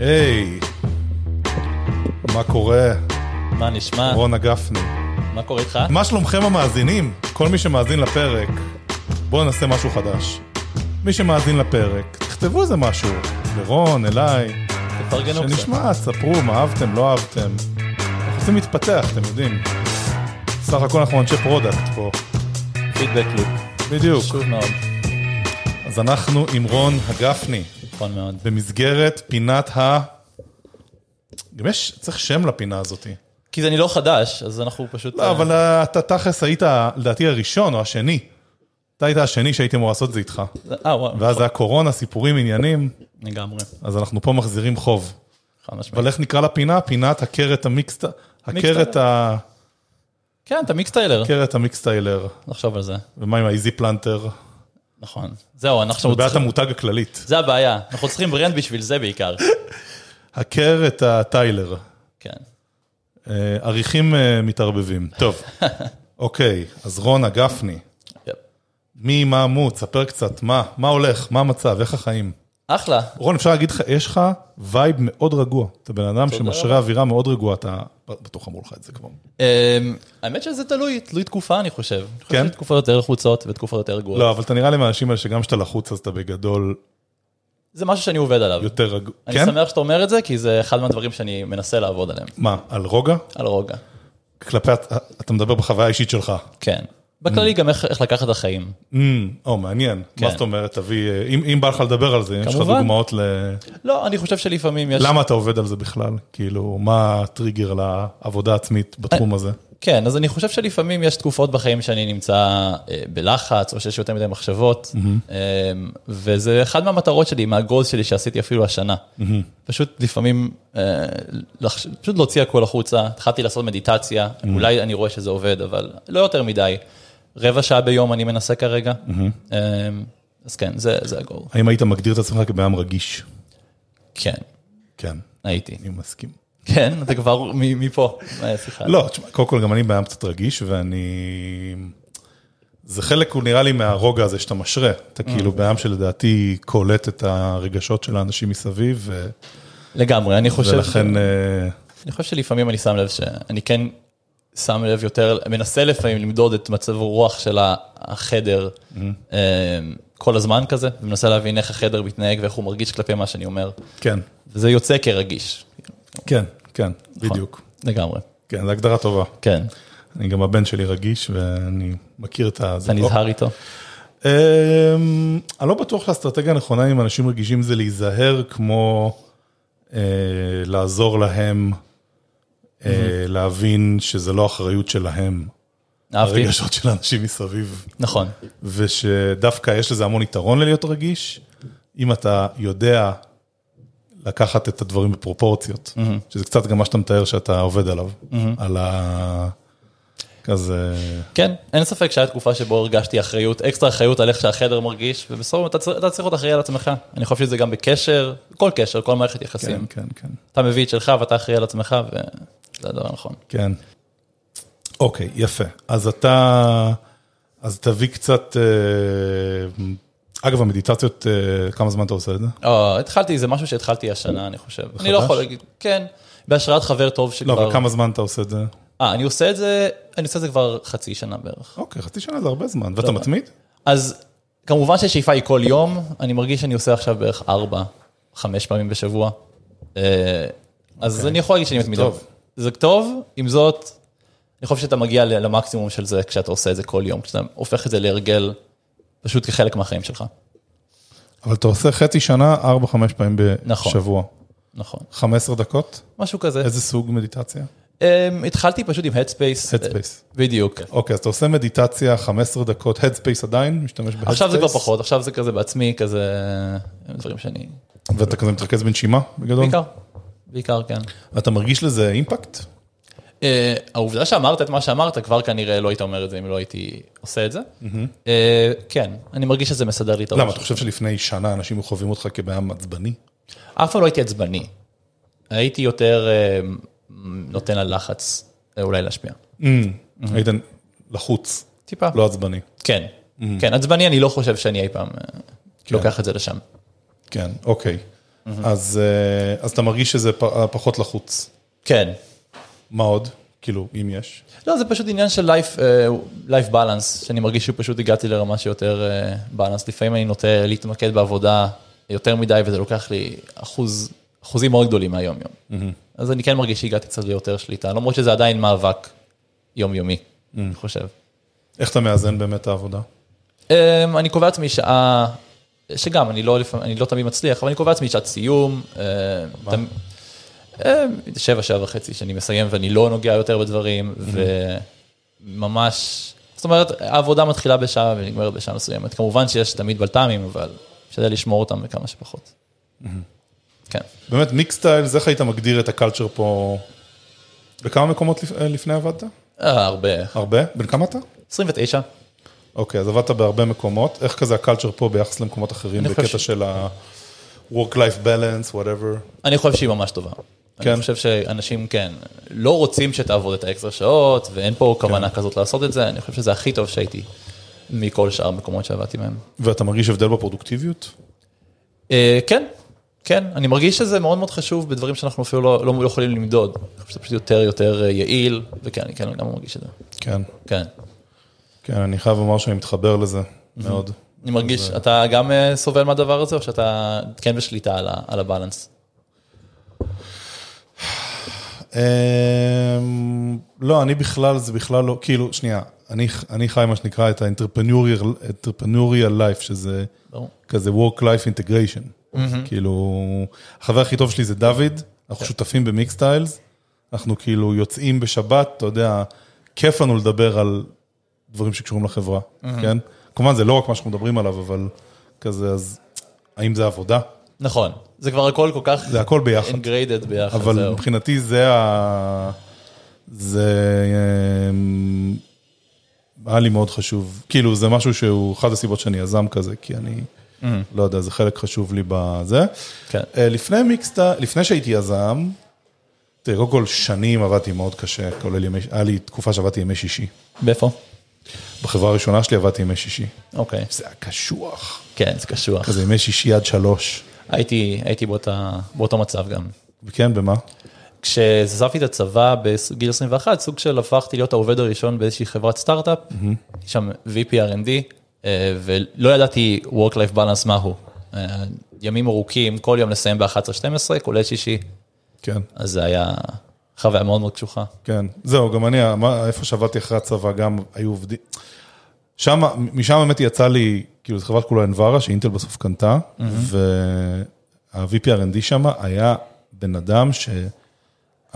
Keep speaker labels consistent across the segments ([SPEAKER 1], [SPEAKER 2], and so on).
[SPEAKER 1] היי, מה קורה,
[SPEAKER 2] מה נשמע?
[SPEAKER 1] רונה גפני?
[SPEAKER 2] מה קורה איתך?
[SPEAKER 1] מה שלומכם המאזינים? כל מי שמאזין לפרק, בואו נעשה משהו חדש. מי שמאזין לפרק, תכתבו איזה משהו, לרון, אליי,
[SPEAKER 2] תפרגנו קצת.
[SPEAKER 1] שנשמע, ספרו מה אהבתם, לא אהבתם. אנחנו רוצים להתפתח, אתם יודעים. סך הכל אנחנו אנשי פרודקט פה,
[SPEAKER 2] פידבק לופ.
[SPEAKER 1] בדיוק.
[SPEAKER 2] חשוב מאוד.
[SPEAKER 1] אז אנחנו עם רון הגפני,
[SPEAKER 2] נכון מאוד.
[SPEAKER 1] במסגרת פינת ה... גם יש, צריך שם לפינה הזאתי.
[SPEAKER 2] כי זה אני לא חדש, אז אנחנו פשוט...
[SPEAKER 1] לא,
[SPEAKER 2] אה,
[SPEAKER 1] אבל אה, אתה תכלס היית, לדעתי, הראשון או השני. אתה היית השני שהייתי אמור לעשות את זה איתך.
[SPEAKER 2] אה, וואו,
[SPEAKER 1] ואז היה קורונה, סיפורים, עניינים,
[SPEAKER 2] לגמרי.
[SPEAKER 1] אז אנחנו פה מחזירים חוב.
[SPEAKER 2] חד משמעית.
[SPEAKER 1] אבל איך נקרא לפינה? פינת הקרת המיקסט... הקרת ה...
[SPEAKER 2] כן, אתה מיקסטיילר.
[SPEAKER 1] הקרת המיקסטיילר.
[SPEAKER 2] נחשוב על זה.
[SPEAKER 1] ומה עם האיזי פלנטר?
[SPEAKER 2] נכון. זהו, אנחנו
[SPEAKER 1] בעיית
[SPEAKER 2] צריכים...
[SPEAKER 1] המותג הכללית.
[SPEAKER 2] זה הבעיה. אנחנו צריכים ברנד בשביל זה בעיקר.
[SPEAKER 1] הקרת הטיילר.
[SPEAKER 2] כן.
[SPEAKER 1] אה, עריכים אה, מתערבבים. טוב. אוקיי, אז רונה, גפני.
[SPEAKER 2] יפ.
[SPEAKER 1] מי, מה, מו, תספר קצת, מה, מה הולך, מה המצב, איך החיים?
[SPEAKER 2] אחלה.
[SPEAKER 1] רון, אפשר להגיד לך, יש לך וייב מאוד רגוע. אתה בן אדם שמשרה אווירה מאוד רגועה, אתה בטוח אמרו לך את זה כבר.
[SPEAKER 2] אמ, האמת שזה תלוי, תלוי תקופה, אני חושב. אני חושב
[SPEAKER 1] כן?
[SPEAKER 2] שתקופות יותר חוצות ותקופות יותר גרועות.
[SPEAKER 1] לא, אבל אתה נראה לי מהאנשים האלה שגם כשאתה לחוץ, אז אתה בגדול
[SPEAKER 2] זה משהו שאני עובד עליו.
[SPEAKER 1] יותר רגוע.
[SPEAKER 2] אני
[SPEAKER 1] כן?
[SPEAKER 2] שמח שאתה אומר את זה, כי זה אחד מהדברים שאני מנסה לעבוד עליהם.
[SPEAKER 1] מה, על רוגע?
[SPEAKER 2] על רוגע.
[SPEAKER 1] כלפי, הת- אתה מדבר בחוויה האישית שלך.
[SPEAKER 2] כן. בכללי גם איך איך לקחת את החיים.
[SPEAKER 1] Mm, או, מעניין.
[SPEAKER 2] כן.
[SPEAKER 1] מה זאת אומרת, תביא, אה, אם אם בא לך לדבר על זה, יש לך
[SPEAKER 2] כמובן.
[SPEAKER 1] דוגמאות ל...
[SPEAKER 2] לא, אני חושב שלפעמים יש...
[SPEAKER 1] למה אתה עובד על זה בכלל? כאילו, מה הטריגר לעבודה העצמית בתחום הזה?
[SPEAKER 2] כן, אז אני חושב שלפעמים יש תקופות בחיים שאני נמצא אה, בלחץ, או שיש יותר מדי מחשבות, אה, וזה אחד מהמטרות שלי, מהגולס שלי שעשיתי אפילו השנה. פשוט לפעמים, אה, לחש- פשוט להוציא הכל החוצה, התחלתי לעשות מדיטציה, אולי אני רואה שזה עובד, אבל לא יותר מדי. רבע שעה ביום אני מנסה כרגע, אה, אז כן, זה זה הגול.
[SPEAKER 1] האם היית מגדיר את עצמך כבעם רגיש?
[SPEAKER 2] כן,
[SPEAKER 1] כן,
[SPEAKER 2] הייתי.
[SPEAKER 1] אני מסכים.
[SPEAKER 2] כן, אתה כבר מ- מפה, אה, סליחה.
[SPEAKER 1] לא, תשמע, קודם כל גם אני בעם קצת רגיש, ואני... זה חלק, הוא נראה לי, מהרוגע הזה שאתה משרה. אתה
[SPEAKER 2] Mm.
[SPEAKER 1] כאילו בעם שלדעתי קולט את הרגשות של האנשים מסביב, ו-
[SPEAKER 2] לגמרי, אני חושב...
[SPEAKER 1] ולכן... אה,
[SPEAKER 2] אני חושב שלפעמים אני שם לב שאני כן שם לב יותר, מנסה לפעמים למדוד את מצב הרוח של החדר
[SPEAKER 1] Mm-hmm.
[SPEAKER 2] אה, כל הזמן כזה, ומנסה להבין איך החדר מתנהג ואיך הוא מרגיש כלפי מה שאני אומר.
[SPEAKER 1] כן,
[SPEAKER 2] וזה יוצא כרגיש,
[SPEAKER 1] כן, כן,
[SPEAKER 2] נכון.
[SPEAKER 1] בדיוק.
[SPEAKER 2] לגמרי.
[SPEAKER 1] כן, זו הגדרה טובה.
[SPEAKER 2] כן,
[SPEAKER 1] אני גם הבן שלי רגיש, ואני מכיר את ה...
[SPEAKER 2] אתה נזהר איתו.
[SPEAKER 1] אמ, אני לא בטוח שהאסטרטגיה הנכונה עם אנשים רגישים זה להיזהר כמו אה, לעזור להם אה,
[SPEAKER 2] Mm-hmm.
[SPEAKER 1] להבין שזה לא אחריות שלהם,
[SPEAKER 2] אהבתי,
[SPEAKER 1] הרגשות של האנשים מסביב,
[SPEAKER 2] נכון,
[SPEAKER 1] ושדווקא יש לזה המון יתרון ללהיות רגיש, אם אתה יודע לקחת את הדברים בפרופורציות, שזה קצת גם מה שאתה מתאר שאתה עובד עליו, על ה... כזה...
[SPEAKER 2] כן, אין ספק שהיה תקופה שבו הרגשתי אחריות, אקסטרה אחריות על איך שהחדר מרגיש, ובסוף אתה צריך- אתה צריך להיות אחראי על עצמך. אני חושב שזה גם בקשר, כל קשר, כל מערכת
[SPEAKER 1] כן,
[SPEAKER 2] יחסים.
[SPEAKER 1] כן, כן.
[SPEAKER 2] אתה מביא את שלך ואתה אחראי על עצמך, וזה הדבר הנכון.
[SPEAKER 1] כן. אוקיי, יפה. אז אתה, אז תביא קצת, אה, אגב, המדיטציות, אה, כמה זמן אתה עושה את זה?
[SPEAKER 2] או, אה, התחלתי, זה משהו שהתחלתי השנה, אני חושב. אני לא
[SPEAKER 1] חדש?
[SPEAKER 2] יכול להגיד, כן, בהשראת חבר טוב
[SPEAKER 1] לא,
[SPEAKER 2] שכבר...
[SPEAKER 1] אבל כמה זמן אתה עושה את זה?
[SPEAKER 2] אה, אני עושה את זה, אני עושה את זה כבר חצי שנה בערך.
[SPEAKER 1] אוקיי, חצי שנה זה הרבה זמן, ואתה מתמיד?
[SPEAKER 2] אז כמובן שהשאיפה היא כל יום, אני מרגיש שאני עושה עכשיו בערך ארבע, חמש פעמים בשבוע. אה, אז אני יכול להגיד שאני מתמיד.
[SPEAKER 1] אוקיי. טוב.
[SPEAKER 2] זה טוב, עם זאת, אני חושב שאתה מגיע ל- למקסימום של זה כשאתה עושה את זה כל יום, כשאתה הופך את זה להרגל, פשוט כחלק מהחיים שלך.
[SPEAKER 1] אבל אתה עושה חצי שנה, 4-5 פעמים
[SPEAKER 2] נכון.
[SPEAKER 1] בשבוע.
[SPEAKER 2] נכון,
[SPEAKER 1] 15 דקות?
[SPEAKER 2] משהו כזה.
[SPEAKER 1] איזה סוג מדיטציה?
[SPEAKER 2] אמ, התחלתי פשוט עם Headspace.
[SPEAKER 1] Headspace.
[SPEAKER 2] אה, בדיוק.
[SPEAKER 1] אוקיי, אז אתה עושה מדיטציה 15 דקות, Headspace עדיין, משתמש ב-Headspace?
[SPEAKER 2] עכשיו זה כבר פחות, עכשיו זה כזה בעצמי, כזה דברים שאני...
[SPEAKER 1] ואתה כזה מתרכז בנשימה, בגדול?
[SPEAKER 2] בעיקר, בעיקר כן.
[SPEAKER 1] אתה מרגיש לזה אימפקט?
[SPEAKER 2] אה, העובדה שאמרת את מה שאמרת, כבר כנראה לא היית אומר את זה אם לא הייתי עושה את זה. אה, כן, אני מרגיש שזה מסדר לי את
[SPEAKER 1] Mm-hmm. למה,
[SPEAKER 2] הראש.
[SPEAKER 1] אתה חושב שלפני שנה אנשים היו חווים אותך כבעם עצבני?
[SPEAKER 2] אף פעם לא הייתי עצבני. הייתי יותר אה, נותן ללחץ אה, אולי להשפיע. Mm-hmm.
[SPEAKER 1] היית לחוץ,
[SPEAKER 2] טיפה.
[SPEAKER 1] לא Mm-hmm. עצבני.
[SPEAKER 2] כן, כן, עצבני אני לא חושב שאני אי פעם אה, לוקח את זה לשם.
[SPEAKER 1] כן, אוקיי.
[SPEAKER 2] Mm-hmm.
[SPEAKER 1] אז אה, אז אתה מרגיש שזה פ- אה, פחות לחוץ.
[SPEAKER 2] כן.
[SPEAKER 1] מה עוד? כאילו, אם יש.
[SPEAKER 2] לא, זה פשוט עניין של לייף, לייף בלנס, שאני מרגיש שפשוט הגעתי לרמה שיותר בלנס. לפעמים אני נוטה להתמקד בעבודה יותר מדי, וזה לוקח לי אחוז, אחוזים מאוד גדולים מהיום-יום. אז אני כן מרגיש שהגעתי קצת ליותר שליטה, למרות שזה עדיין מאבק יומיומי, אני חושב.
[SPEAKER 1] איך אתה מאזן באמת את העבודה?
[SPEAKER 2] אמ, אני קובע לעצמי שעה, שגם, אני לא, לפעמים- אני לא תמיד מצליח, אבל אני קובע לעצמי שעת סיום. אמ, תמ- אמ, שבע, שבע וחצי, שאני מסיים ואני לא נוגע יותר בדברים, וממש, זאת אומרת, העבודה מתחילה בשעה ונגמרת בשעה מסוימת. כמובן שיש תמיד בלת"מים, אבל משתדל לשמור אותם לכמה שפחות. כן.
[SPEAKER 1] באמת, מיקס סטיילס, איך היית מגדיר את הקלצ'ר פה? בכמה מקומות לפ- אה, לפני עבדת?
[SPEAKER 2] אה, הרבה.
[SPEAKER 1] הרבה? בן כמה אתה?
[SPEAKER 2] 29.
[SPEAKER 1] אוקיי, אז עבדת בהרבה מקומות. איך כזה הקלצ'ר פה ביחס למקומות אחרים,
[SPEAKER 2] אני חושב
[SPEAKER 1] בקטע
[SPEAKER 2] ש-
[SPEAKER 1] של ה-work-life balance, whatever?
[SPEAKER 2] אני חושב שהיא ממש טובה. כן.
[SPEAKER 1] כן.
[SPEAKER 2] אני חושב שאנשים, כן, לא רוצים שתעבוד את האקסטרה שעות, ואין פה כוונה כזאת לעשות את זה, אני חושב שזה הכי טוב שהייתי מכל שאר המקומות שעבדתי בהם.
[SPEAKER 1] ואתה מרגיש הבדל בפרודוקטיביות?
[SPEAKER 2] אה, כן, כן, אני מרגיש שזה מאוד מאוד חשוב בדברים שאנחנו אפילו לא, לא, לא יכולים למדוד. אני חושב שזה פשוט יותר יותר אה, יעיל, וכן, אני כן לגמרי מרגיש את זה.
[SPEAKER 1] כן.
[SPEAKER 2] כן.
[SPEAKER 1] כן, אני חייב לומר שאני מתחבר לזה מאוד.
[SPEAKER 2] אני מרגיש, אתה גם אה, סובל מהדבר הזה, או שאתה כן בשליטה על, ה, על הבאלנס?
[SPEAKER 1] אמ, לא, אני בכלל, זה בכלל לא, כאילו, שנייה, אני, אני חי מה שנקרא את ה-entrepreneurial life, שזה
[SPEAKER 2] ברור.
[SPEAKER 1] כזה work-life integration. כאילו, החבר הכי טוב שלי זה דוד, אנחנו שותפים במיקס טיילס, אנחנו כאילו יוצאים בשבת, אתה יודע, כיף לנו לדבר על דברים שקשורים לחברה, כן? כמובן, זה לא רק מה שאנחנו מדברים עליו, אבל כזה, אז האם זה עבודה?
[SPEAKER 2] נכון, זה כבר הכל כל כך
[SPEAKER 1] זה הכל ביחד.
[SPEAKER 2] אינגריידד ביחד,
[SPEAKER 1] אבל
[SPEAKER 2] זהו.
[SPEAKER 1] מבחינתי זה ה... זה... אמ, היה לי מאוד חשוב, כאילו זה משהו שהוא אחת הסיבות שאני יזם כזה, כי אני לא יודע, זה חלק חשוב לי בזה.
[SPEAKER 2] Mm. כן.
[SPEAKER 1] אה, לפני מיקסטה, לפני שהייתי יזם, תראה, קודם כל שנים עבדתי מאוד קשה, כולל ימי, היה לי תקופה שעבדתי ימי שישי.
[SPEAKER 2] באיפה?
[SPEAKER 1] בחברה הראשונה שלי עבדתי ימי שישי.
[SPEAKER 2] אוקיי.
[SPEAKER 1] זה היה קשוח.
[SPEAKER 2] כן, זה קשוח.
[SPEAKER 1] כזה ימי שישי עד שלוש.
[SPEAKER 2] הייתי, הייתי באותה, באותו מצב גם.
[SPEAKER 1] כן, במה?
[SPEAKER 2] כשעזבתי את הצבא בגיל 21, סוג של הפכתי להיות העובד הראשון באיזושהי חברת סטארט-אפ,
[SPEAKER 1] Mm-hmm.
[SPEAKER 2] הייתי שם VPRND, אה, ולא ידעתי Work-Life Balance מהו. אה, ימים ארוכים, כל יום לסיים ב-11-12, כולל שישי,
[SPEAKER 1] כן.
[SPEAKER 2] אז זה היה חוויה מאוד מאוד קשוחה.
[SPEAKER 1] כן, זהו, גם אני, מה- איפה שעבדתי אחרי הצבא, גם היו עובדים. שם, משם באמת יצא לי, כאילו, זו חברת כולה אנברה, שאינטל בסוף קנתה, וה-VPRND שם היה בן אדם שהיה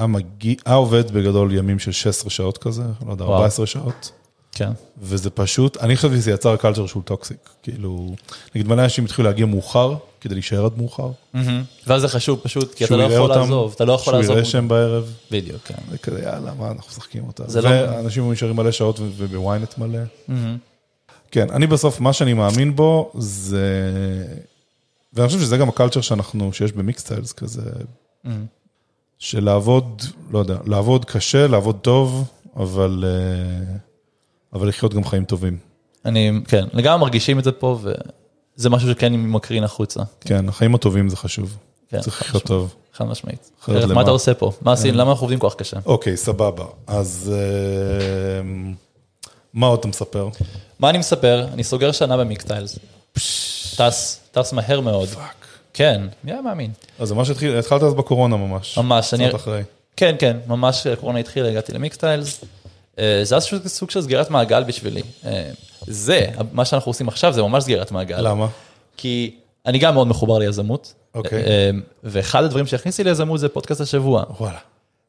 [SPEAKER 1] מגיע, היה עובד בגדול ימים של 16 שעות כזה, לא יודע,
[SPEAKER 2] וואו.
[SPEAKER 1] 14 שעות,
[SPEAKER 2] כן.
[SPEAKER 1] וזה פשוט, אני חושב שזה יצר קלצ'ר שהוא טוקסיק, כאילו, נגיד מלא אנשים התחילו להגיע מאוחר, כדי להישאר עד מאוחר,
[SPEAKER 2] ואז זה חשוב פשוט, כי אתה
[SPEAKER 1] שהוא
[SPEAKER 2] לא
[SPEAKER 1] יראה
[SPEAKER 2] יכול
[SPEAKER 1] אותם,
[SPEAKER 2] לעזוב, אתה לא יכול
[SPEAKER 1] שהוא
[SPEAKER 2] לעזוב.
[SPEAKER 1] יראה שהם בערב.
[SPEAKER 2] בדיוק, כן.
[SPEAKER 1] זה כזה, יאללה, מה, אנחנו משחקים אותה.
[SPEAKER 2] זה לא-
[SPEAKER 1] ואנשים לא... נשארים מלא שעות ו- ובוויינט מלא. כן, אני בסוף, מה שאני מאמין בו, זה... ואני חושב שזה גם הקלצ'ר שאנחנו, שיש במיקסטיילס כזה, של לעבוד, לא יודע, לעבוד קשה, לעבוד טוב, אבל, אה, אבל לחיות גם חיים טובים.
[SPEAKER 2] אני, כן, לגמרי מרגישים את זה פה, וזה משהו שכן מקרין החוצה.
[SPEAKER 1] כן, החיים הטובים זה חשוב.
[SPEAKER 2] כן,
[SPEAKER 1] צריך לחיות
[SPEAKER 2] חשוב.
[SPEAKER 1] טוב.
[SPEAKER 2] חד משמעית.
[SPEAKER 1] אחרת
[SPEAKER 2] אחרת
[SPEAKER 1] למה? אה.
[SPEAKER 2] מה אתה עושה פה? מה עשינו? למה אנחנו עובדים כל כך קשה?
[SPEAKER 1] אוקיי, סבבה. אז אה, מה עוד אתה מספר?
[SPEAKER 2] מה אני מספר? אני סוגר שנה במיקטיילס. טס, טס מהר מאוד.
[SPEAKER 1] פאק.
[SPEAKER 2] כן, מי היה מאמין?
[SPEAKER 1] אז זה מה שהתחיל, התחלת אז בקורונה ממש.
[SPEAKER 2] ממש, אני-
[SPEAKER 1] קצת אחרי.
[SPEAKER 2] כן, כן, ממש הקורונה התחילה, הגעתי למיקטיילס. אה, זה היה סוג- סוג של סגירת מעגל בשבילי. אה, זה, מה שאנחנו עושים עכשיו זה ממש סגירת מעגל.
[SPEAKER 1] למה?
[SPEAKER 2] כי אני גם מאוד מחובר ליזמות.
[SPEAKER 1] אוקיי.
[SPEAKER 2] אה, ואחד הדברים שהכניסי ליזמות זה פודקאסט השבוע.
[SPEAKER 1] וואלה.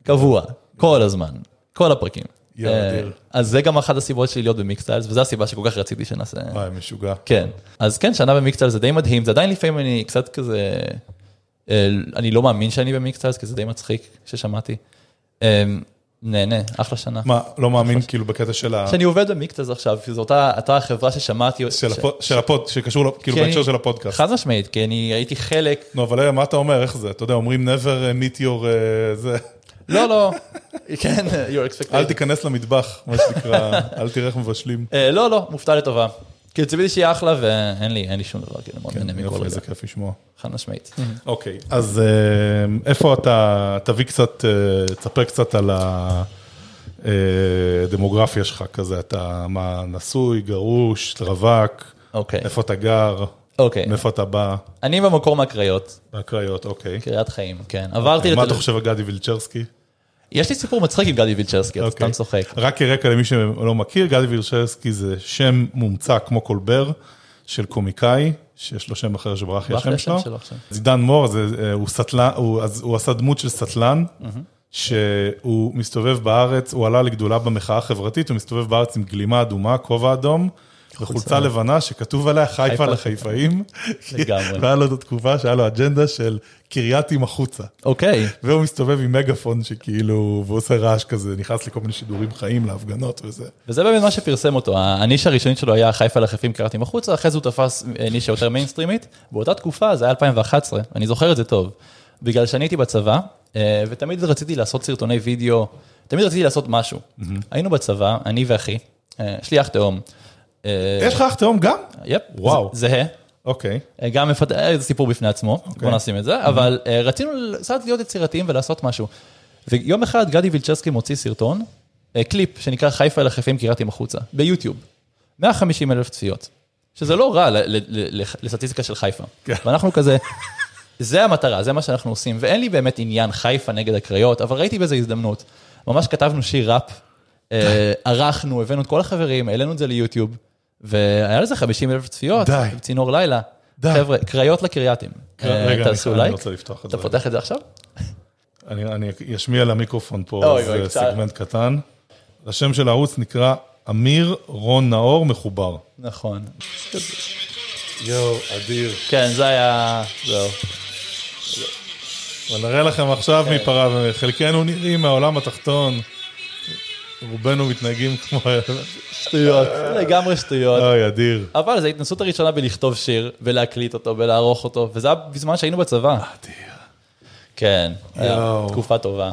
[SPEAKER 2] קבוע, כל הזמן, כל הפרקים.
[SPEAKER 1] יאללה,
[SPEAKER 2] אה,
[SPEAKER 1] דיר.
[SPEAKER 2] אז זה גם אחת הסיבות שלי להיות במיקסטיילס, וזו הסיבה שכל כך רציתי שנעשה.
[SPEAKER 1] וואי, משוגע.
[SPEAKER 2] כן, אז כן, שנה במיקסטיילס זה די מדהים, זה עדיין לפעמים אני קצת כזה, אה, אני לא מאמין שאני במיקסטיילס, כי זה די מצחיק ששמעתי. אה, נהנה, אחלה שנה.
[SPEAKER 1] מה, לא מאמין כאילו בקטע של ה...
[SPEAKER 2] נכון. שאני עובד במיקסטיילס עכשיו, כי זו אותה אותה החברה ששמעתי.
[SPEAKER 1] של
[SPEAKER 2] ש-
[SPEAKER 1] הפוד- של הפוד, שקשור, ל- כאילו
[SPEAKER 2] כי
[SPEAKER 1] בהקשר
[SPEAKER 2] אני-
[SPEAKER 1] של הפודקאסט.
[SPEAKER 2] חד משמעית, כי אני הייתי חלק
[SPEAKER 1] נו, אבל אלה, מה אתה אומר, איך זה? אתה יודע, אומרים never meet your... אה, זה,
[SPEAKER 2] לא, לא, כן, your expectation.
[SPEAKER 1] אל תיכנס למטבח, מה שנקרא, אל תראה איך מבשלים.
[SPEAKER 2] אה, לא, לא, מופתע לטובה. כאילו ציפיתי שיהיה אחלה ואין לי, אין לי שום דבר, כאילו, מאוד נהנה מכל
[SPEAKER 1] כן, יופי,
[SPEAKER 2] רגע,
[SPEAKER 1] איזה כיף לשמוע.
[SPEAKER 2] חד משמעית.
[SPEAKER 1] אוקיי, אז אה, איפה אתה, תביא קצת, אה, תספר קצת על הדמוגרפיה שלך כזה, אתה מה, נשוי, גרוש, רווק,
[SPEAKER 2] אוקיי.
[SPEAKER 1] איפה אתה גר,
[SPEAKER 2] אוקיי.
[SPEAKER 1] מאיפה אתה בא,
[SPEAKER 2] אני במקור מהקריות,
[SPEAKER 1] מהקריות, אוקיי.
[SPEAKER 2] קריית חיים, כן. עברתי
[SPEAKER 1] מה אתה
[SPEAKER 2] לתל...
[SPEAKER 1] חושב על גדי וילצ'רסקי?
[SPEAKER 2] יש לי סיפור מצחיק עם גדי וילצ'רסקי, אתה סתם
[SPEAKER 1] אוקיי.
[SPEAKER 2] צוחק.
[SPEAKER 1] רק כרקע למי שלא מכיר, גדי וילצ'רסקי זה שם מומצא כמו קולבר של קומיקאי, שיש לו שם אחר שברח לי
[SPEAKER 2] ברח לי
[SPEAKER 1] השם
[SPEAKER 2] השם
[SPEAKER 1] שלו.
[SPEAKER 2] שלו עכשיו.
[SPEAKER 1] זידן מור, זה, אה, הוא, סטלן, הוא, אז הוא עשה דמות של סטלן, שהוא מסתובב בארץ, הוא עלה לגדולה במחאה החברתית, הוא מסתובב בארץ עם גלימה אדומה, כובע אדום. וחולצה לבנה שכתוב עליה חיפה
[SPEAKER 2] חיפה
[SPEAKER 1] לחיפאים,
[SPEAKER 2] לגמרי.
[SPEAKER 1] והיה לו את התקופה שהיה לו אג'נדה של קרייתים החוצה.
[SPEAKER 2] אוקיי,
[SPEAKER 1] והוא מסתובב עם מגאפון שכאילו, והוא עושה רעש כזה, נכנס לכל מיני שידורים חיים להפגנות וזה.
[SPEAKER 2] וזה באמת מה שפרסם אותו. הנישה הראשונית שלו היה חיפה לחפים קראתי מחוצה, אחרי זה הוא תפס אה, נישה יותר מיינסטרימית. באותה תקופה, זה היה 2011, אני זוכר את זה טוב. בגלל שאני הייתי בצבא, אה, ותמיד רציתי לעשות סרטוני וידאו, תמיד רציתי לעשות משהו. היינו בצבא, אני ואחי, אה, יש לי אח תאום. אה,
[SPEAKER 1] יש לך אח תאום גם?
[SPEAKER 2] יפ,
[SPEAKER 1] וואו.
[SPEAKER 2] ז- זהה.
[SPEAKER 1] אוקיי.
[SPEAKER 2] אה, גם מפתח, אה, זה סיפור בפני עצמו, בוא נשים את זה, אבל אה, רצינו קצת להיות יצירתיים ולעשות משהו. ויום אחד גדי וילצ'רסקי מוציא סרטון, אה, קליפ שנקרא חיפה אל החפים קרייתים החוצה, ביוטיוב. 150 אלף צפיות, שזה לא רע ל- ל- ל- לח- לסטטיסטיקה של חיפה.
[SPEAKER 1] כן.
[SPEAKER 2] ואנחנו כזה, זה המטרה, זה מה שאנחנו עושים, ואין לי באמת עניין חיפה נגד הקריות, אבל ראיתי בזה הזדמנות. ממש כתבנו שיר ראפ, אה, ערכנו, הבאנו את כל החברים, העלינו את זה ליוטיוב, והיה לזה 50 אלף צפיות,
[SPEAKER 1] די.
[SPEAKER 2] צינור לילה.
[SPEAKER 1] די.
[SPEAKER 2] חבר'ה, קריות לקרייתים.
[SPEAKER 1] רגע,
[SPEAKER 2] אה,
[SPEAKER 1] אני-
[SPEAKER 2] תעשו
[SPEAKER 1] אני
[SPEAKER 2] לייק.
[SPEAKER 1] רוצה לפתוח את
[SPEAKER 2] אתה
[SPEAKER 1] זה.
[SPEAKER 2] פותח את זה עכשיו?
[SPEAKER 1] אני אני אשמיע למיקרופון פה
[SPEAKER 2] אוי,
[SPEAKER 1] איזה
[SPEAKER 2] אוי, קצת.
[SPEAKER 1] סגמנט קטן. השם של הערוץ נקרא אמיר רון נאור מחובר.
[SPEAKER 2] נכון.
[SPEAKER 1] יואו, אדיר.
[SPEAKER 2] כן, זה היה... זהו.
[SPEAKER 1] ונראה לכם עכשיו
[SPEAKER 2] כן.
[SPEAKER 1] מי פרה, חלקנו נראים מהעולם התחתון. רובנו מתנהגים כמו...
[SPEAKER 2] שטויות. לגמרי שטויות.
[SPEAKER 1] אוי, אדיר.
[SPEAKER 2] אבל זו ההתנסות הראשונה בלכתוב שיר, ולהקליט אותו, ולערוך אותו, וזה היה בזמן שהיינו בצבא. כן, היה
[SPEAKER 1] יואו.
[SPEAKER 2] תקופה טובה.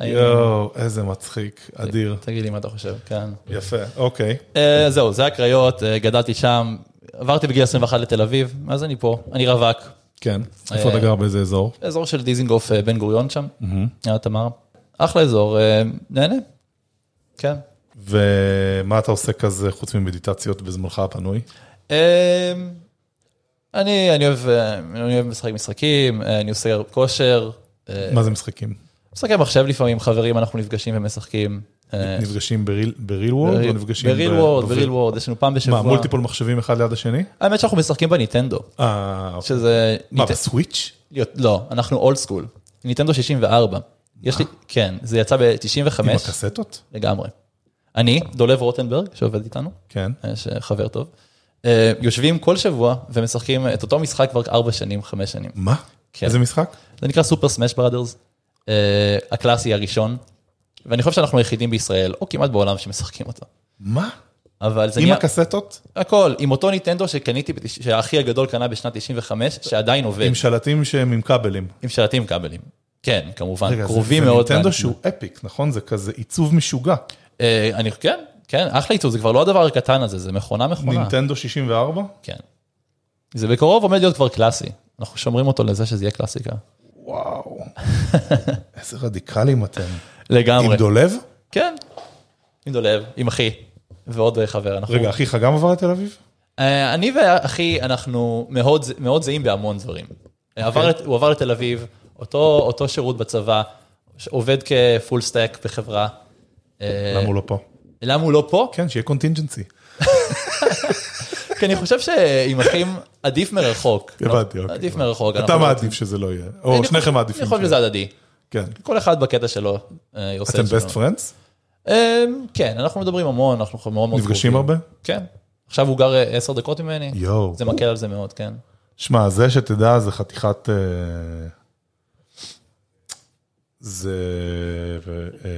[SPEAKER 1] יואו, איזה מצחיק, אדיר.
[SPEAKER 2] תגיד לי מה אתה חושב, כן.
[SPEAKER 1] יפה, אוקיי.
[SPEAKER 2] אה, זהו, זה הקריות, אה, גדלתי שם, עברתי בגיל 21 לתל אביב, אז אני פה, אני רווק,
[SPEAKER 1] כן. איפה אתה
[SPEAKER 2] אה,
[SPEAKER 1] גר באיזה אזור?
[SPEAKER 2] אזור של דיזינגוף אה, בן גוריון שם, יאללה תמר, אחלה אזור, אה, נהנה, כן.
[SPEAKER 1] ומה אתה עושה כזה חוץ ממדיטציות בזמנך הפנוי?
[SPEAKER 2] אה, אני אני אוהב אה, אני אוהב לשחק משחקים, אה, אני עושה כושר, אה,
[SPEAKER 1] מה זה משחקים?
[SPEAKER 2] משחקי מחשב לפעמים, חברים, אנחנו נפגשים ומשחקים. אה,
[SPEAKER 1] נפגשים בריל וורד או נפגשים...
[SPEAKER 2] בריל וורד, בריל וורד, יש לנו פעם בשבוע.
[SPEAKER 1] מה, מולטיפול מחשבים אחד ליד השני?
[SPEAKER 2] האמת שאנחנו משחקים בניטנדו,
[SPEAKER 1] אה, אוקיי.
[SPEAKER 2] שזה...
[SPEAKER 1] מה,
[SPEAKER 2] ניט-
[SPEAKER 1] בסוויץ'?
[SPEAKER 2] להיות- לא, אנחנו אולד סקול. ניטנדו 64. יש לי, כן, זה יצא
[SPEAKER 1] עם
[SPEAKER 2] ב-95
[SPEAKER 1] הקסטות?
[SPEAKER 2] לגמרי. אני, דולב רוטנברג, שעובד איתנו,
[SPEAKER 1] כן.
[SPEAKER 2] אה, שחבר טוב, אה, יושבים כל שבוע ומשחקים את אותו משחק כבר 4 שנים, 5 שנים.
[SPEAKER 1] מה?
[SPEAKER 2] כן.
[SPEAKER 1] איזה משחק?
[SPEAKER 2] זה נקרא סופר סמאש בראדרס, אה, הקלאסי הראשון, ואני חושב שאנחנו היחידים בישראל, או כמעט בעולם, שמשחקים אותו.
[SPEAKER 1] מה?
[SPEAKER 2] אבל זה
[SPEAKER 1] עם
[SPEAKER 2] נהיה... אה,
[SPEAKER 1] הקסטות?
[SPEAKER 2] הכל, עם אותו ניטנדו שקניתי, בתש- שהאחי הגדול קנה בשנת 95, שעדיין עובד,
[SPEAKER 1] עם שלטים שהם עם כבלים.
[SPEAKER 2] עם שלטים כבלים. כן, כמובן,
[SPEAKER 1] רגע, זה-
[SPEAKER 2] קרובים מאוד.
[SPEAKER 1] זה ניטנדו
[SPEAKER 2] לאן-
[SPEAKER 1] שהוא אפיק, נכון? זה כזה עיצוב משוגע.
[SPEAKER 2] אה, אני, כן, כן, אחלה עיצוב, זה כבר לא הדבר הקטן הזה, זה מכונה מכונה.
[SPEAKER 1] נינטנדו 64?
[SPEAKER 2] כן. זה בקרוב עומד להיות כבר קלאסי. אנחנו שומרים אותו לזה שזה יהיה קלאסיקה.
[SPEAKER 1] וואו. איזה רדיקלים אתם. עם
[SPEAKER 2] לגמרי.
[SPEAKER 1] דולב?
[SPEAKER 2] כן. עם דולב, עם אחי, ועוד אה, חבר. אנחנו...
[SPEAKER 1] רגע, אחיך גם עבר לתל אביב?
[SPEAKER 2] אה, אני ואחי, אנחנו מאוד, ז- מאוד זהים בהמון דברים.
[SPEAKER 1] אוקיי.
[SPEAKER 2] אה, עבר, לת- הוא עבר לתל אביב, אותו, אותו שירות בצבא, ש- עובד כפול סטאק בחברה. אה,
[SPEAKER 1] למה הוא לא פה?
[SPEAKER 2] למה הוא לא פה?
[SPEAKER 1] כן, שיהיה קונטינג'נסי.
[SPEAKER 2] כי אני חושב שעם אחים עדיף מרחוק.
[SPEAKER 1] הבנתי,
[SPEAKER 2] לא,
[SPEAKER 1] אוקיי.
[SPEAKER 2] עדיף מרחוק.
[SPEAKER 1] אתה
[SPEAKER 2] אנחנו-
[SPEAKER 1] מעדיף שזה לא יהיה,
[SPEAKER 2] אני
[SPEAKER 1] או
[SPEAKER 2] חושב-
[SPEAKER 1] שניכם מעדיפים.
[SPEAKER 2] אני חושב
[SPEAKER 1] שיהיה.
[SPEAKER 2] שזה הדדי.
[SPEAKER 1] כן.
[SPEAKER 2] כל אחד בקטע שלו אה, עושה
[SPEAKER 1] אתם
[SPEAKER 2] את שלו.
[SPEAKER 1] best friends?
[SPEAKER 2] אה, כן, אנחנו מדברים המון, אנחנו מאוד מאוד
[SPEAKER 1] נפגשים הרבה?
[SPEAKER 2] כן. עכשיו הוא גר אה, עשר דקות ממני.
[SPEAKER 1] יואו.
[SPEAKER 2] זה מקל על זה מאוד, כן.
[SPEAKER 1] שמע, זה שתדע זה חתיכת... אה, זה אה,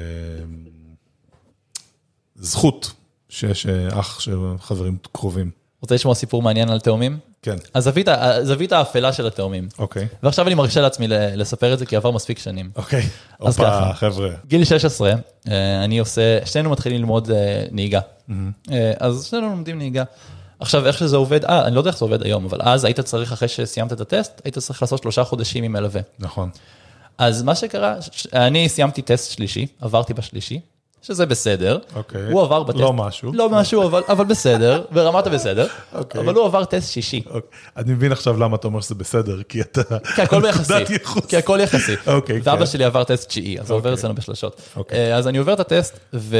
[SPEAKER 1] זכות שיש אה, אח של חברים קרובים.
[SPEAKER 2] רוצה לשמוע סיפור מעניין על תאומים?
[SPEAKER 1] כן,
[SPEAKER 2] הזווית ה- הזווית האפלה של התאומים.
[SPEAKER 1] אוקיי.
[SPEAKER 2] ועכשיו אני מרשה לעצמי ל- לספר את זה, כי עבר מספיק שנים.
[SPEAKER 1] אוקיי.
[SPEAKER 2] אז
[SPEAKER 1] הופה,
[SPEAKER 2] ככה.
[SPEAKER 1] חבר'ה.
[SPEAKER 2] גיל 16,
[SPEAKER 1] Mm-hmm.
[SPEAKER 2] אה, אני עושה, שנינו מתחילים ללמוד אה, נהיגה. אה, אז שנינו לומדים נהיגה. עכשיו, איך שזה עובד, אה, אני לא יודע איך זה עובד היום, אבל אז היית צריך, אחרי שסיימת את הטסט, היית צריך לעשות שלושה חודשים עם מלווה.
[SPEAKER 1] נכון.
[SPEAKER 2] אז מה שקרה, ש- אני סיימתי טסט שלישי, עברתי בשלישי, שזה בסדר.
[SPEAKER 1] אוקיי.
[SPEAKER 2] הוא עבר בטסט.
[SPEAKER 1] לא משהו.
[SPEAKER 2] לא משהו, אבל, אבל בסדר, ברמת הבסדר.
[SPEAKER 1] אוקיי.
[SPEAKER 2] אבל הוא עבר טסט שישי.
[SPEAKER 1] אוקיי. אני מבין עכשיו למה אתה אומר שזה בסדר, כי אתה...
[SPEAKER 2] כי הכל יחסי,
[SPEAKER 1] נקודת ייחוס.
[SPEAKER 2] כי הכל יחסי.
[SPEAKER 1] אוקיי,
[SPEAKER 2] ואבא
[SPEAKER 1] כן.
[SPEAKER 2] שלי עבר טסט תשיעי, אז הוא עובר אצלנו בשלשות.
[SPEAKER 1] אוקיי.
[SPEAKER 2] אה, אז אני עובר את הטסט, ו-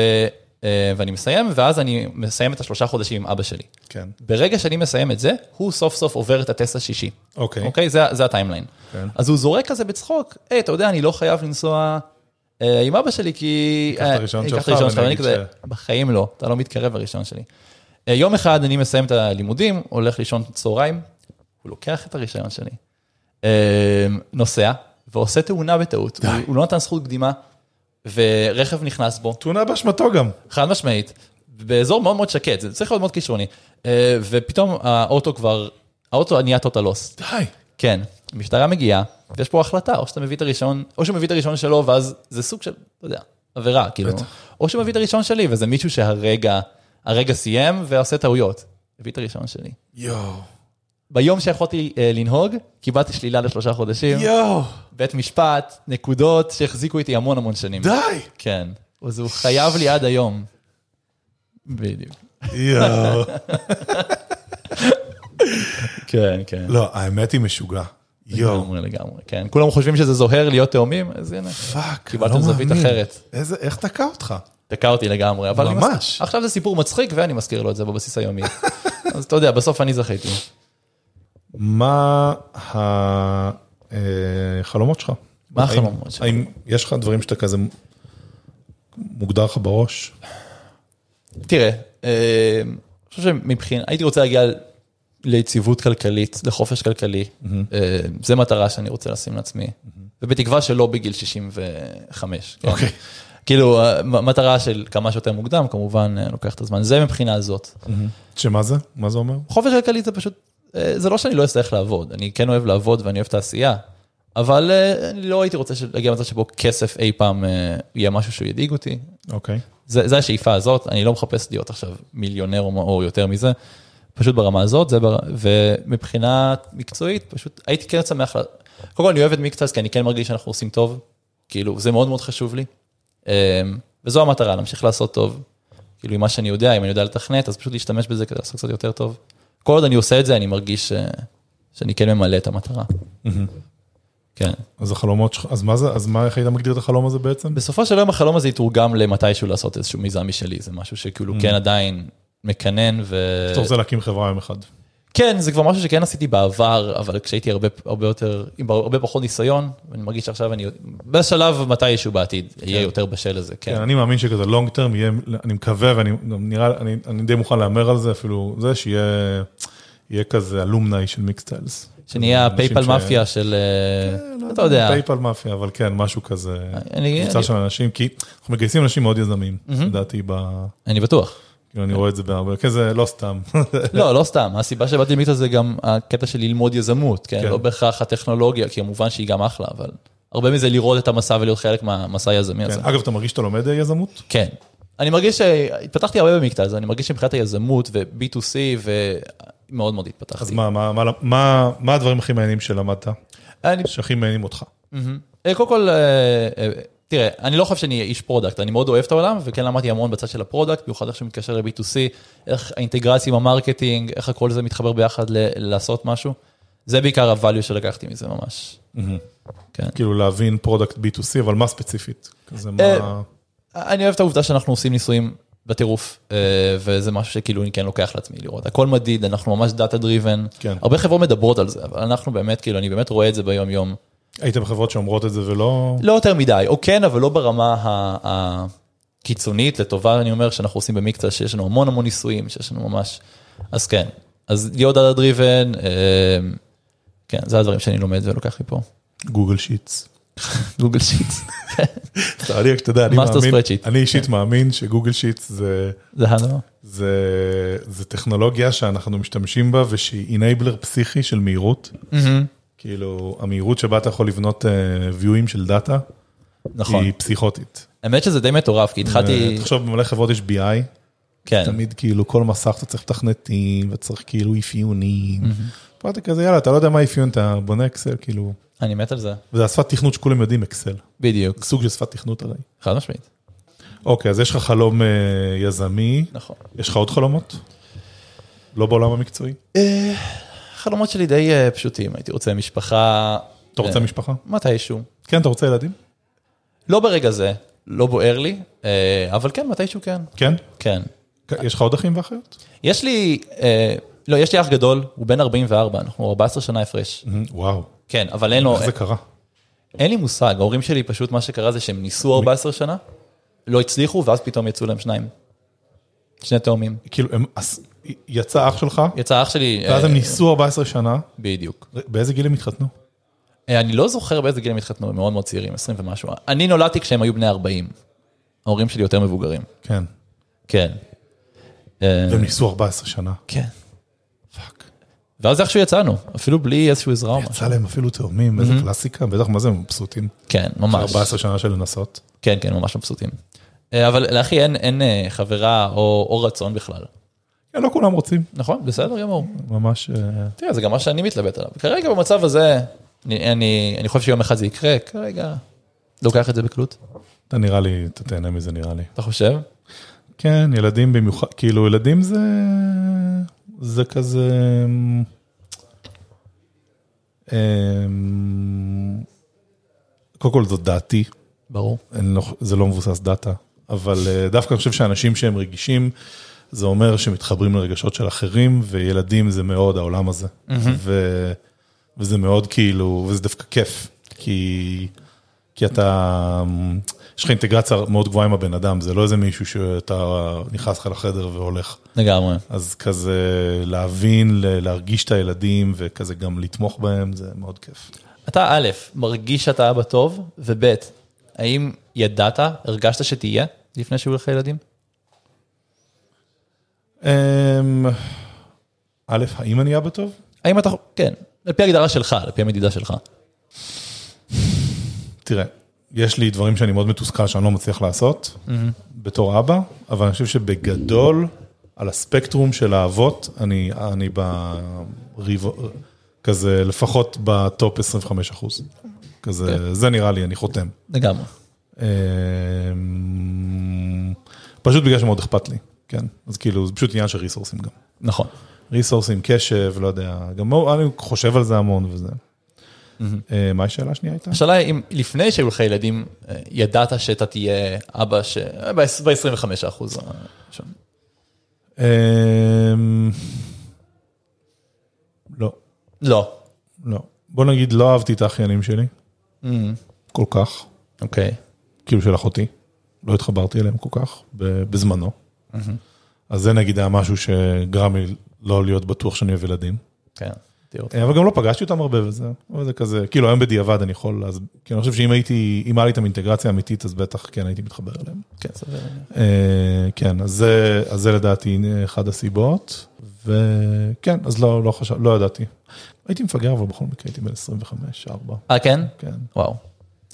[SPEAKER 2] אה, ואני מסיים, ואז אני מסיים את השלושה חודשים עם אבא שלי.
[SPEAKER 1] כן.
[SPEAKER 2] ברגע שאני מסיים את זה, הוא סוף סוף עובר את הטסט השישי.
[SPEAKER 1] אוקיי.
[SPEAKER 2] אוקיי? זה, זה הטיימליין.
[SPEAKER 1] כן.
[SPEAKER 2] אז הוא זורק כזה בצחוק, היי, אתה יודע, אני לא חייב לנסוע אה, עם אבא שלי, כי...
[SPEAKER 1] את הראשון
[SPEAKER 2] אה,
[SPEAKER 1] שלך,
[SPEAKER 2] קח את הראשון שלך,
[SPEAKER 1] ואני
[SPEAKER 2] ואני
[SPEAKER 1] אגיד
[SPEAKER 2] כזה, בחיים לא, אתה לא מתקרב לראשון שלי. אה, יום אחד אני מסיים את הלימודים, הולך לישון צהריים, הוא לוקח את הרישיון שלי, אה, נוסע, ועושה תאונה בטעות. הוא, הוא לא נתן זכות קדימה, ורכב נכנס בו.
[SPEAKER 1] תאונה באשמתו גם.
[SPEAKER 2] חד משמעית, באזור מאוד מאוד שקט, זה צריך להיות מאוד כישרוני. אה, ופתאום האוטו כבר, האוטו נהיה total loss.
[SPEAKER 1] די.
[SPEAKER 2] כן, המשטרה מגיעה, ויש פה החלטה, או שאתה מביא את הראשון, או שהוא מביא את הראשון שלו, ואז זה סוג של, אתה יודע, עבירה, כאילו. או שהוא מביא את הראשון שלי, וזה מישהו שהרגע, הרגע סיים ועושה טעויות. הביא את הראשון שלי.
[SPEAKER 1] יואו.
[SPEAKER 2] ביום שיכולתי אה, לנהוג, קיבלתי שלילה לשלושה חודשים,
[SPEAKER 1] יואו.
[SPEAKER 2] בית משפט, נקודות שהחזיקו איתי המון המון שנים.
[SPEAKER 1] די.
[SPEAKER 2] כן, אז הוא חייב לי עד היום. בדיוק.
[SPEAKER 1] יואו.
[SPEAKER 2] כן, כן.
[SPEAKER 1] לא, האמת היא משוגע. יואו.
[SPEAKER 2] לגמרי, לגמרי, כן. כולם חושבים שזה זוהר להיות תאומים, אז הנה.
[SPEAKER 1] פאק,
[SPEAKER 2] קיבלתם
[SPEAKER 1] לא
[SPEAKER 2] זווית
[SPEAKER 1] מאמין.
[SPEAKER 2] אחרת.
[SPEAKER 1] איזה, איך תקע אותך?
[SPEAKER 2] תקע אותי לגמרי, אבל... אני
[SPEAKER 1] ממש.
[SPEAKER 2] מזכיר- עכשיו זה סיפור מצחיק, ואני מזכיר לו את זה בבסיס היומי. אז אתה יודע, בסוף אני זכיתי.
[SPEAKER 1] מה החלומות שלך?
[SPEAKER 2] מה
[SPEAKER 1] האם-
[SPEAKER 2] החלומות שלי?
[SPEAKER 1] האם יש לך דברים שאתה כזה מוגדר לך בראש?
[SPEAKER 2] כן. תראה, אה, אני חושב שמבחינת, הייתי רוצה להגיע ליציבות כלכלית, לחופש כלכלי. אה, זה מטרה שאני רוצה לשים לעצמי, ובתקווה שלא בגיל 65. כן?
[SPEAKER 1] אוקיי.
[SPEAKER 2] כאילו, אה, מ- מטרה של כמה שיותר מוקדם, כמובן, אה, לוקח את הזמן. זה מבחינה הזאת.
[SPEAKER 1] שמה זה? מה זה אומר?
[SPEAKER 2] חופש כלכלי זה פשוט, אה, זה לא שאני לא אצטרך לעבוד, אני כן אוהב לעבוד ואני אוהב תעשייה, אבל אה, אני לא הייתי רוצה של- להגיע למצב שבו כסף אי פעם אה, יהיה משהו שידאיג אותי.
[SPEAKER 1] אוקיי.
[SPEAKER 2] זה, זה השאיפה הזאת, אני לא מחפש להיות עכשיו מיליונר או, או יותר מזה, פשוט ברמה הזאת, זה בר... ומבחינה מקצועית, פשוט הייתי כן שמח, לה... קודם כל אני אוהב את מיקטס, כי אני כן מרגיש שאנחנו עושים טוב, כאילו, זה מאוד מאוד חשוב לי, אמ, וזו המטרה, להמשיך לעשות טוב, כאילו, עם מה שאני יודע, אם אני יודע לתכנת, אז פשוט להשתמש בזה כדי לעשות קצת יותר טוב. כל עוד אני עושה את זה, אני מרגיש ש... שאני כן ממלא את המטרה. כן.
[SPEAKER 1] אז החלומות שלך, אז מה זה, אז מה, איך היית מגדיר את החלום הזה בעצם?
[SPEAKER 2] בסופו של יום החלום הזה יתורגם למתישהו לעשות איזשהו מיזם משלי, זה משהו שכאילו כן עדיין מקנן ו...
[SPEAKER 1] אתה רוצה להקים חברה יום אחד.
[SPEAKER 2] כן, זה כבר משהו שכן עשיתי בעבר, אבל כשהייתי הרבה, הרבה יותר, עם הרבה פחות ניסיון, ואני מרגיש שעכשיו אני, בשלב מתישהו בעתיד, יהיה יותר בשל לזה,
[SPEAKER 1] כן,
[SPEAKER 2] כן.
[SPEAKER 1] אני מאמין שכזה לונג טרם יהיה, אני מקווה ואני גם נראה, אני, אני די מוכן להמר על זה אפילו, זה שיהיה יהיה כזה אלומני של מיקסטיילס.
[SPEAKER 2] שנהיה
[SPEAKER 1] אנשים
[SPEAKER 2] הפייפל
[SPEAKER 1] ש-
[SPEAKER 2] מאפיה של, אה, אתה יודע,
[SPEAKER 1] פייפל מאפיה, אבל כן, משהו כזה,
[SPEAKER 2] אני-
[SPEAKER 1] קבוצה
[SPEAKER 2] אני-
[SPEAKER 1] של אנשים, כי אנחנו מגייסים אנשים מאוד יזמים, לדעתי, ב-
[SPEAKER 2] אני בטוח.
[SPEAKER 1] כאילו אני רואה את זה בהרבה, כן, זה לא סתם.
[SPEAKER 2] לא, לא סתם, הסיבה שבאתי למיקטה זה גם הקטע של ללמוד יזמות, כן?
[SPEAKER 1] כן.
[SPEAKER 2] לא בהכרח הטכנולוגיה, כי כמובן שהיא גם אחלה, אבל הרבה מזה לראות את המסע ולהיות חלק מהמסע היזמי הזה.
[SPEAKER 1] כן, אגב, אתה מרגיש שאתה לומד יזמות?
[SPEAKER 2] כן. אני מרגיש שהתפתחתי הרבה במקטע הזה, אני מרגיש שמבחינת היזמות ו-B2C ומאוד מאוד התפתחתי.
[SPEAKER 1] אז מה, מה- מה- מה- מה הדברים הכי מעניינים שלמדת,
[SPEAKER 2] אני,
[SPEAKER 1] שהכי מעניינים אותך?
[SPEAKER 2] אה, קודם כל, אה, אה, תראה, אני לא חושב שאני איש פרודקט, אני מאוד אוהב את העולם, וכן למדתי המון בצד של הפרודקט, במיוחד איך שמתקשר ל-B2C, איך האינטגרציה עם המרקטינג, איך הכל זה מתחבר ביחד ל- לעשות משהו. זה בעיקר ה-value שלקחתי מזה ממש. כן.
[SPEAKER 1] כאילו להבין פרודקט B2C, אבל מה ספציפית? כזה
[SPEAKER 2] אה,
[SPEAKER 1] מה...
[SPEAKER 2] אני אוהב את העובדה שאנחנו עושים ניסויים בטירוף, אה, וזה משהו שכאילו אני כן לוקח לעצמי לראות. הכל מדיד, אנחנו ממש דאטה דריבן.
[SPEAKER 1] כן.
[SPEAKER 2] הרבה חברות מדברות על זה, אבל אנחנו באמת, כאילו, אני באמת רואה את זה ביום יום.
[SPEAKER 1] היית בחברות שאומרות את זה ולא...
[SPEAKER 2] לא יותר מדי, או כן, אבל לא ברמה ה- הקיצונית, לטובה אני אומר, שאנחנו עושים במקצוע שיש לנו המון המון ניסויים, שיש לנו ממש, אז כן. אז להיות דאטה דריבן, כן, זה הדברים שאני לומד ולוקח לי פה.
[SPEAKER 1] גוגל שיטס.
[SPEAKER 2] גוגל שיט,
[SPEAKER 1] אני רק שתדע, אני
[SPEAKER 2] Master
[SPEAKER 1] מאמין,
[SPEAKER 2] spreadsheet. כן.
[SPEAKER 1] אני אישית מאמין שגוגל שיטס זה...
[SPEAKER 2] זה הדבר.
[SPEAKER 1] זה, זה טכנולוגיה שאנחנו משתמשים בה ושהיא אינבלר פסיכי של מהירות. כאילו, המהירות שבה אתה יכול לבנות אה, viewing של דאטה,
[SPEAKER 2] נכון.
[SPEAKER 1] היא פסיכוטית.
[SPEAKER 2] האמת שזה די מטורף, כי התחלתי...
[SPEAKER 1] אה, תחשוב, במלא חברות יש BI,
[SPEAKER 2] כן.
[SPEAKER 1] תמיד כאילו כל מסך אתה צריך מתכנתים, וצריך כאילו אפיונים. פה אתה כזה, יאללה, אתה לא יודע מה אפיון, אתה בונה אקסל, כאילו...
[SPEAKER 2] אני מת על זה.
[SPEAKER 1] וזה השפת תכנות שכולם יודעים אקסל.
[SPEAKER 2] בדיוק.
[SPEAKER 1] סוג של שפת תכנות הרי.
[SPEAKER 2] חד משמעית.
[SPEAKER 1] אוקיי, אז יש לך חלום אה, יזמי.
[SPEAKER 2] נכון.
[SPEAKER 1] יש לך עוד חלומות? לא בעולם המקצועי?
[SPEAKER 2] החלומות שלי די אה, פשוטים, הייתי רוצה משפחה...
[SPEAKER 1] אתה רוצה
[SPEAKER 2] אה,
[SPEAKER 1] משפחה?
[SPEAKER 2] מתישהו.
[SPEAKER 1] כן, אתה רוצה ילדים?
[SPEAKER 2] לא ברגע זה, לא בוער לי, אה, אבל כן, מתישהו כן.
[SPEAKER 1] כן?
[SPEAKER 2] כן.
[SPEAKER 1] כ- יש לך עוד אחים ואחיות?
[SPEAKER 2] יש לי, אה, לא, יש לי אח גדול, הוא בן 44, אנחנו 14 שנה הפרש.
[SPEAKER 1] אמ, וואו,
[SPEAKER 2] כן, אבל אין לו,
[SPEAKER 1] איך זה קרה?
[SPEAKER 2] אין לי מושג, ההורים שלי פשוט, מה שקרה זה שהם ניסו 14 שנה, לא הצליחו, ואז פתאום יצאו להם שניים. שני תאומים.
[SPEAKER 1] כאילו, הם- אז יצא אח שלך,
[SPEAKER 2] יצא אח שלי...
[SPEAKER 1] ואז
[SPEAKER 2] אה,
[SPEAKER 1] הם ניסו 14 שנה,
[SPEAKER 2] בדיוק.
[SPEAKER 1] באיזה גיל הם התחתנו?
[SPEAKER 2] אה, אני לא זוכר באיזה גיל הם התחתנו, הם מאוד מאוד צעירים, 20 ומשהו. אני נולדתי כשהם היו בני 40. ההורים שלי יותר מבוגרים.
[SPEAKER 1] כן.
[SPEAKER 2] כן. אה,
[SPEAKER 1] והם ניסו 14 שנה.
[SPEAKER 2] כן.
[SPEAKER 1] פאק.
[SPEAKER 2] ואז איכשהו יצאנו, אפילו בלי איזשהו עזרה או משהו.
[SPEAKER 1] יצא להם אפילו תאומים, איזה קלאסיקה, בטח מה זה הם מבסוטים.
[SPEAKER 2] כן, ממש.
[SPEAKER 1] 14 שנה של לנסות.
[SPEAKER 2] כן, כן, ממש מבסוטים. אה, אבל לאחי אין, אין אה, חברה או, או רצון בכלל.
[SPEAKER 1] כן, לא כולם רוצים,
[SPEAKER 2] נכון, בסדר גמור.
[SPEAKER 1] ממש... אה,
[SPEAKER 2] תראה, זה גם מה שאני מתלבט עליו. כרגע במצב הזה, אני, אני, אני חושב שיום אחד זה יקרה, כרגע לוקח את זה בקלות.
[SPEAKER 1] אתה נראה לי, אתה תהנה מזה נראה לי.
[SPEAKER 2] אתה חושב?
[SPEAKER 1] כן, ילדים במיוחד, כאילו ילדים זה, זה כזה, אמ, אמ, קודם כל זאת דעתי,
[SPEAKER 2] ברור.
[SPEAKER 1] אני לא, זה לא מבוסס דאטה, אבל אה, דווקא אני חושב שאנשים שהם רגישים, זה אומר שמתחברים לרגשות של אחרים, וילדים זה מאוד העולם הזה. ו, וזה מאוד כאילו, וזה דווקא כיף, כי, כי אתה, יש לך אינטגרציה מאוד גבוהה עם הבן אדם, זה לא איזה מישהו שאתה נכנס לך לחדר והולך.
[SPEAKER 2] לגמרי.
[SPEAKER 1] אז כזה להבין, ל- להרגיש את הילדים, וכזה גם לתמוך בהם, זה מאוד כיף.
[SPEAKER 2] אתה א', מרגיש שאתה אבא טוב, וב', האם ידעת, הרגשת שתהיה לפני שהיו לך ילדים?
[SPEAKER 1] אמ, א', האם אני אבא טוב?
[SPEAKER 2] האם אתה, כן, על פי הגדרה שלך, על פי המדידה שלך.
[SPEAKER 1] תראה, יש לי דברים שאני מאוד מתוסכל שאני לא מצליח לעשות בתור אבא, אבל אני חושב שבגדול, על הספקטרום של האבות, אני, אני בריב... כזה, לפחות בטופ 25 אחוז. כזה, זה נראה לי, אני חותם.
[SPEAKER 2] לגמרי.
[SPEAKER 1] אמ, פשוט בגלל שמאוד אכפת לי, כן? אז כאילו, זה פשוט עניין של ריסורסים גם.
[SPEAKER 2] נכון.
[SPEAKER 1] ריסורסים, קשב, לא יודע, גם אני חושב על זה המון וזה. אה, מה השאלה השנייה הייתה?
[SPEAKER 2] השאלה היא אם לפני שהיו לך ילדים, אה, ידעת שאתה תהיה אבא ש... אה, ב-25 אחוז. אה,
[SPEAKER 1] אמ, לא,
[SPEAKER 2] לא.
[SPEAKER 1] לא. בוא נגיד, לא אהבתי את האחיינים שלי, כל כך,
[SPEAKER 2] אוקיי.
[SPEAKER 1] כאילו של אחותי. לא התחברתי אליהם כל כך, ב- בזמנו. אז זה נגיד היה משהו שגרם לי לא להיות בטוח שאני אוהב ילדים.
[SPEAKER 2] כן. תראו.
[SPEAKER 1] אה, אבל גם לא פגשתי אותם הרבה וזה, אבל זה כזה, כאילו היום בדיעבד אני יכול, אז כאילו אני חושב שאם הייתי, אם היה לי את האינטגרציה האמיתית, אז בטח כן הייתי מתחבר אליהם.
[SPEAKER 2] כן, סביר.
[SPEAKER 1] אה, כן, אז זה, אז זה לדעתי אחת הסיבות, וכן, אז לא, לא חשב, לא ידעתי. הייתי מפגר, אבל בכל מקרה הייתי בן 25-4,
[SPEAKER 2] אה, כן?
[SPEAKER 1] כן.
[SPEAKER 2] וואו.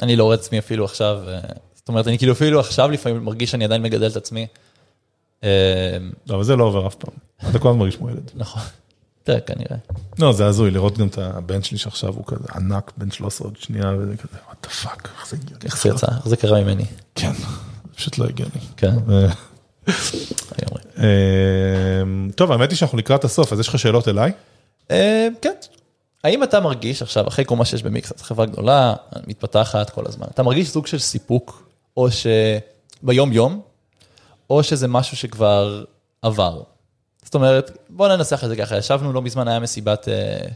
[SPEAKER 2] אני לא רואה את עצמי אפילו עכשיו, אה, זאת אומרת, אני כאילו אפילו עכשיו לפעמים מרגיש שאני עדיין מגדל את עצמי. אה,
[SPEAKER 1] לא, אבל זה לא עובר אף פעם, אתה כל הזמן מרגיש כמו ילד.
[SPEAKER 2] נכון. תראה, כנראה.
[SPEAKER 1] לא, זה הזוי, לראות גם את הבן שלי שעכשיו הוא כזה ענק, בן 13 עוד שנייה, וזה כזה, what the fuck, איך זה הגיוני.
[SPEAKER 2] איך זה יצא? איך זה קרה ממני?
[SPEAKER 1] כן, זה פשוט לא הגיוני.
[SPEAKER 2] כן.
[SPEAKER 1] אה,
[SPEAKER 2] אני אומר.
[SPEAKER 1] אה, טוב, האמת היא שאנחנו לקראת הסוף, אז יש לך שאלות אליי?
[SPEAKER 2] אה, כן. האם אתה מרגיש עכשיו, אחרי כל מה שיש במיקסט, חברה גדולה, מתפתחת כל הזמן, אתה מרגיש סוג של סיפוק, או שביום יום, או שזה משהו שכבר עבר. זאת אומרת, בוא ננסח את זה ככה, ישבנו לא מזמן, היה מסיבת, אה,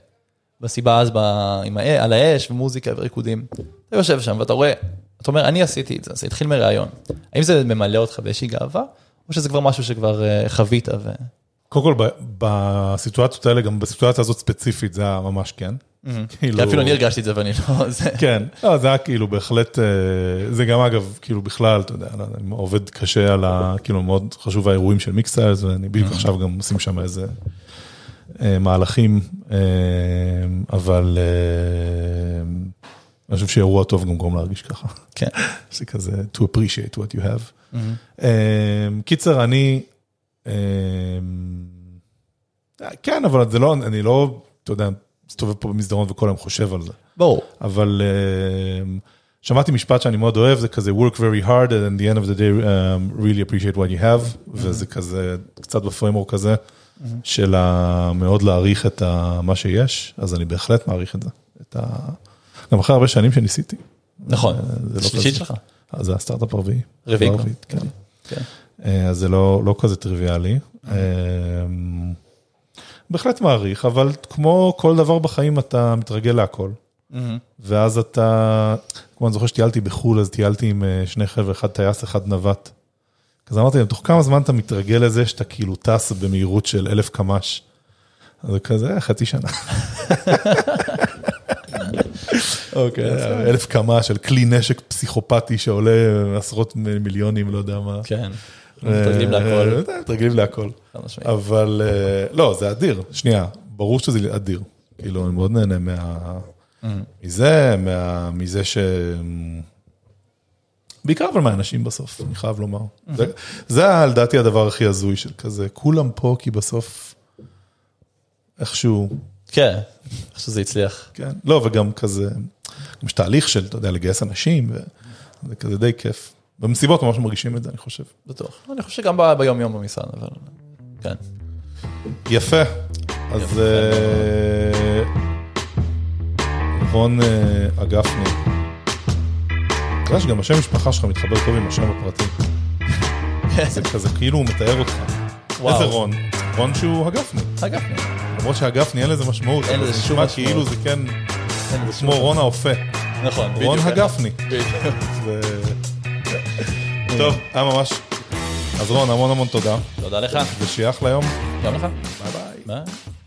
[SPEAKER 2] מסיבה אז ב, עם הא, על האש, ומוזיקה וריקודים. אתה יושב שם ואתה רואה, אתה אומר, אני עשיתי את זה, זה התחיל מראיון. האם זה ממלא אותך באיזושהי גאווה, או שזה כבר משהו שכבר אה, חווית ו...
[SPEAKER 1] קודם כל, ב- בסיטואציות האלה, גם בסיטואציה הזאת ספציפית, זה היה ממש כן. כאילו-
[SPEAKER 2] אפילו אני הרגשתי את זה ואני לא... זה...
[SPEAKER 1] כן, לא, זה היה כאילו בהחלט, אה, זה גם אגב, כאילו בכלל, אתה יודע, לא יודע, אני עובד קשה על ה... כאילו מאוד חשוב האירועים של מיקסטיילס, ואני בדיוק עכשיו גם עושים שם איזה אה, מהלכים, אה, אבל אה, אני חושב שאירוע טוב גם גורם להרגיש ככה.
[SPEAKER 2] כן.
[SPEAKER 1] Mm-hmm. זה כזה to appreciate what you have. אה, קיצר, אני, אה, אה, כן, אבל זה לא, אני לא, אתה יודע, מסתובב פה במסדרון וכל היום חושב על זה.
[SPEAKER 2] ברור.
[SPEAKER 1] אבל אה, שמעתי משפט שאני מאוד אוהב, זה כזה work very hard and at the end of the day um, really appreciate what you have, וזה
[SPEAKER 2] Mm-hmm.
[SPEAKER 1] כזה, קצת בפריימורק הזה, של ה- מאוד להעריך את ה- מה שיש, אז אני בהחלט מעריך את זה. את ה... גם אחרי הרבה שנים שניסיתי.
[SPEAKER 2] נכון.
[SPEAKER 1] אה, זה לא
[SPEAKER 2] שלישית
[SPEAKER 1] כזה-
[SPEAKER 2] שלך.
[SPEAKER 1] אה, זה הסטארט-אפ הרביעי.
[SPEAKER 2] רביעי כבר.
[SPEAKER 1] הרביעית, כן.
[SPEAKER 2] כן.
[SPEAKER 1] אה, אז זה לא, לא כזה טריוויאלי. אה, בהחלט מעריך, אבל כמו כל דבר בחיים אתה מתרגל להכל. ואז אתה, כמו אני זוכר שטיילתי בחו"ל, אז טיילתי עם אה, שני חבר'ה, אחד טייס, אחד נווט. אז אמרתי להם, תוך כמה זמן אתה מתרגל לזה שאתה כאילו טס במהירות של אלף קמ"ש? אז זה כזה, "אה, חצי שנה.
[SPEAKER 2] אוקיי.
[SPEAKER 1] אלף קמ"ש של כלי נשק פסיכופתי שעולה עשרות מ- מיליונים, לא יודע מה.
[SPEAKER 2] כן. מתרגלים להכל.
[SPEAKER 1] אה, מתרגלים להכל.
[SPEAKER 2] חד משמעית.
[SPEAKER 1] אבל אה, לא, זה אדיר. שנייה, ברור שזה אדיר. כאילו, אני מאוד נהנה מה... מזה, מה... מזה ש... בעיקר אבל מהאנשים בסוף, אני חייב לומר. זה, זה ה- לדעתי הדבר הכי הזוי של כזה, כולם פה כי בסוף איכשהו,
[SPEAKER 2] כן. עכשיו זה הצליח.
[SPEAKER 1] כן, לא, וגם כזה, גם יש תהליך של, אתה יודע, לגייס אנשים, וזה כזה די כיף. במסיבות ממש מרגישים את זה, אני חושב.
[SPEAKER 2] בטוח. אני חושב שגם ב- ביום יום במשרד, אבל... כן.
[SPEAKER 1] יפה. אז אה, רון אה, הגפני. אתה יודע שגם השם משפחה שלך מתחבר טוב עם השם הפרטי. זה כזה כאילו הוא מתאר אותך.
[SPEAKER 2] וואו.
[SPEAKER 1] איזה רון? רון שהוא הגפני.
[SPEAKER 2] אגב,
[SPEAKER 1] למרות שהגפני אין לזה משמעות.
[SPEAKER 2] אין
[SPEAKER 1] אבל
[SPEAKER 2] לזה
[SPEAKER 1] זה
[SPEAKER 2] שום
[SPEAKER 1] נשמע
[SPEAKER 2] משמעות.
[SPEAKER 1] כאילו זה כן
[SPEAKER 2] אין לזה שום-
[SPEAKER 1] כמו רון האופה.
[SPEAKER 2] נכון.
[SPEAKER 1] רון
[SPEAKER 2] בדיוק.
[SPEAKER 1] הגפני.
[SPEAKER 2] בדיוק.
[SPEAKER 1] זה- טוב, היה ממש... אז רון, המון המון תודה,
[SPEAKER 2] תודה לך.
[SPEAKER 1] ושיהיה אחלה יום.
[SPEAKER 2] גם לך.
[SPEAKER 1] ביי ביי.
[SPEAKER 2] ביי.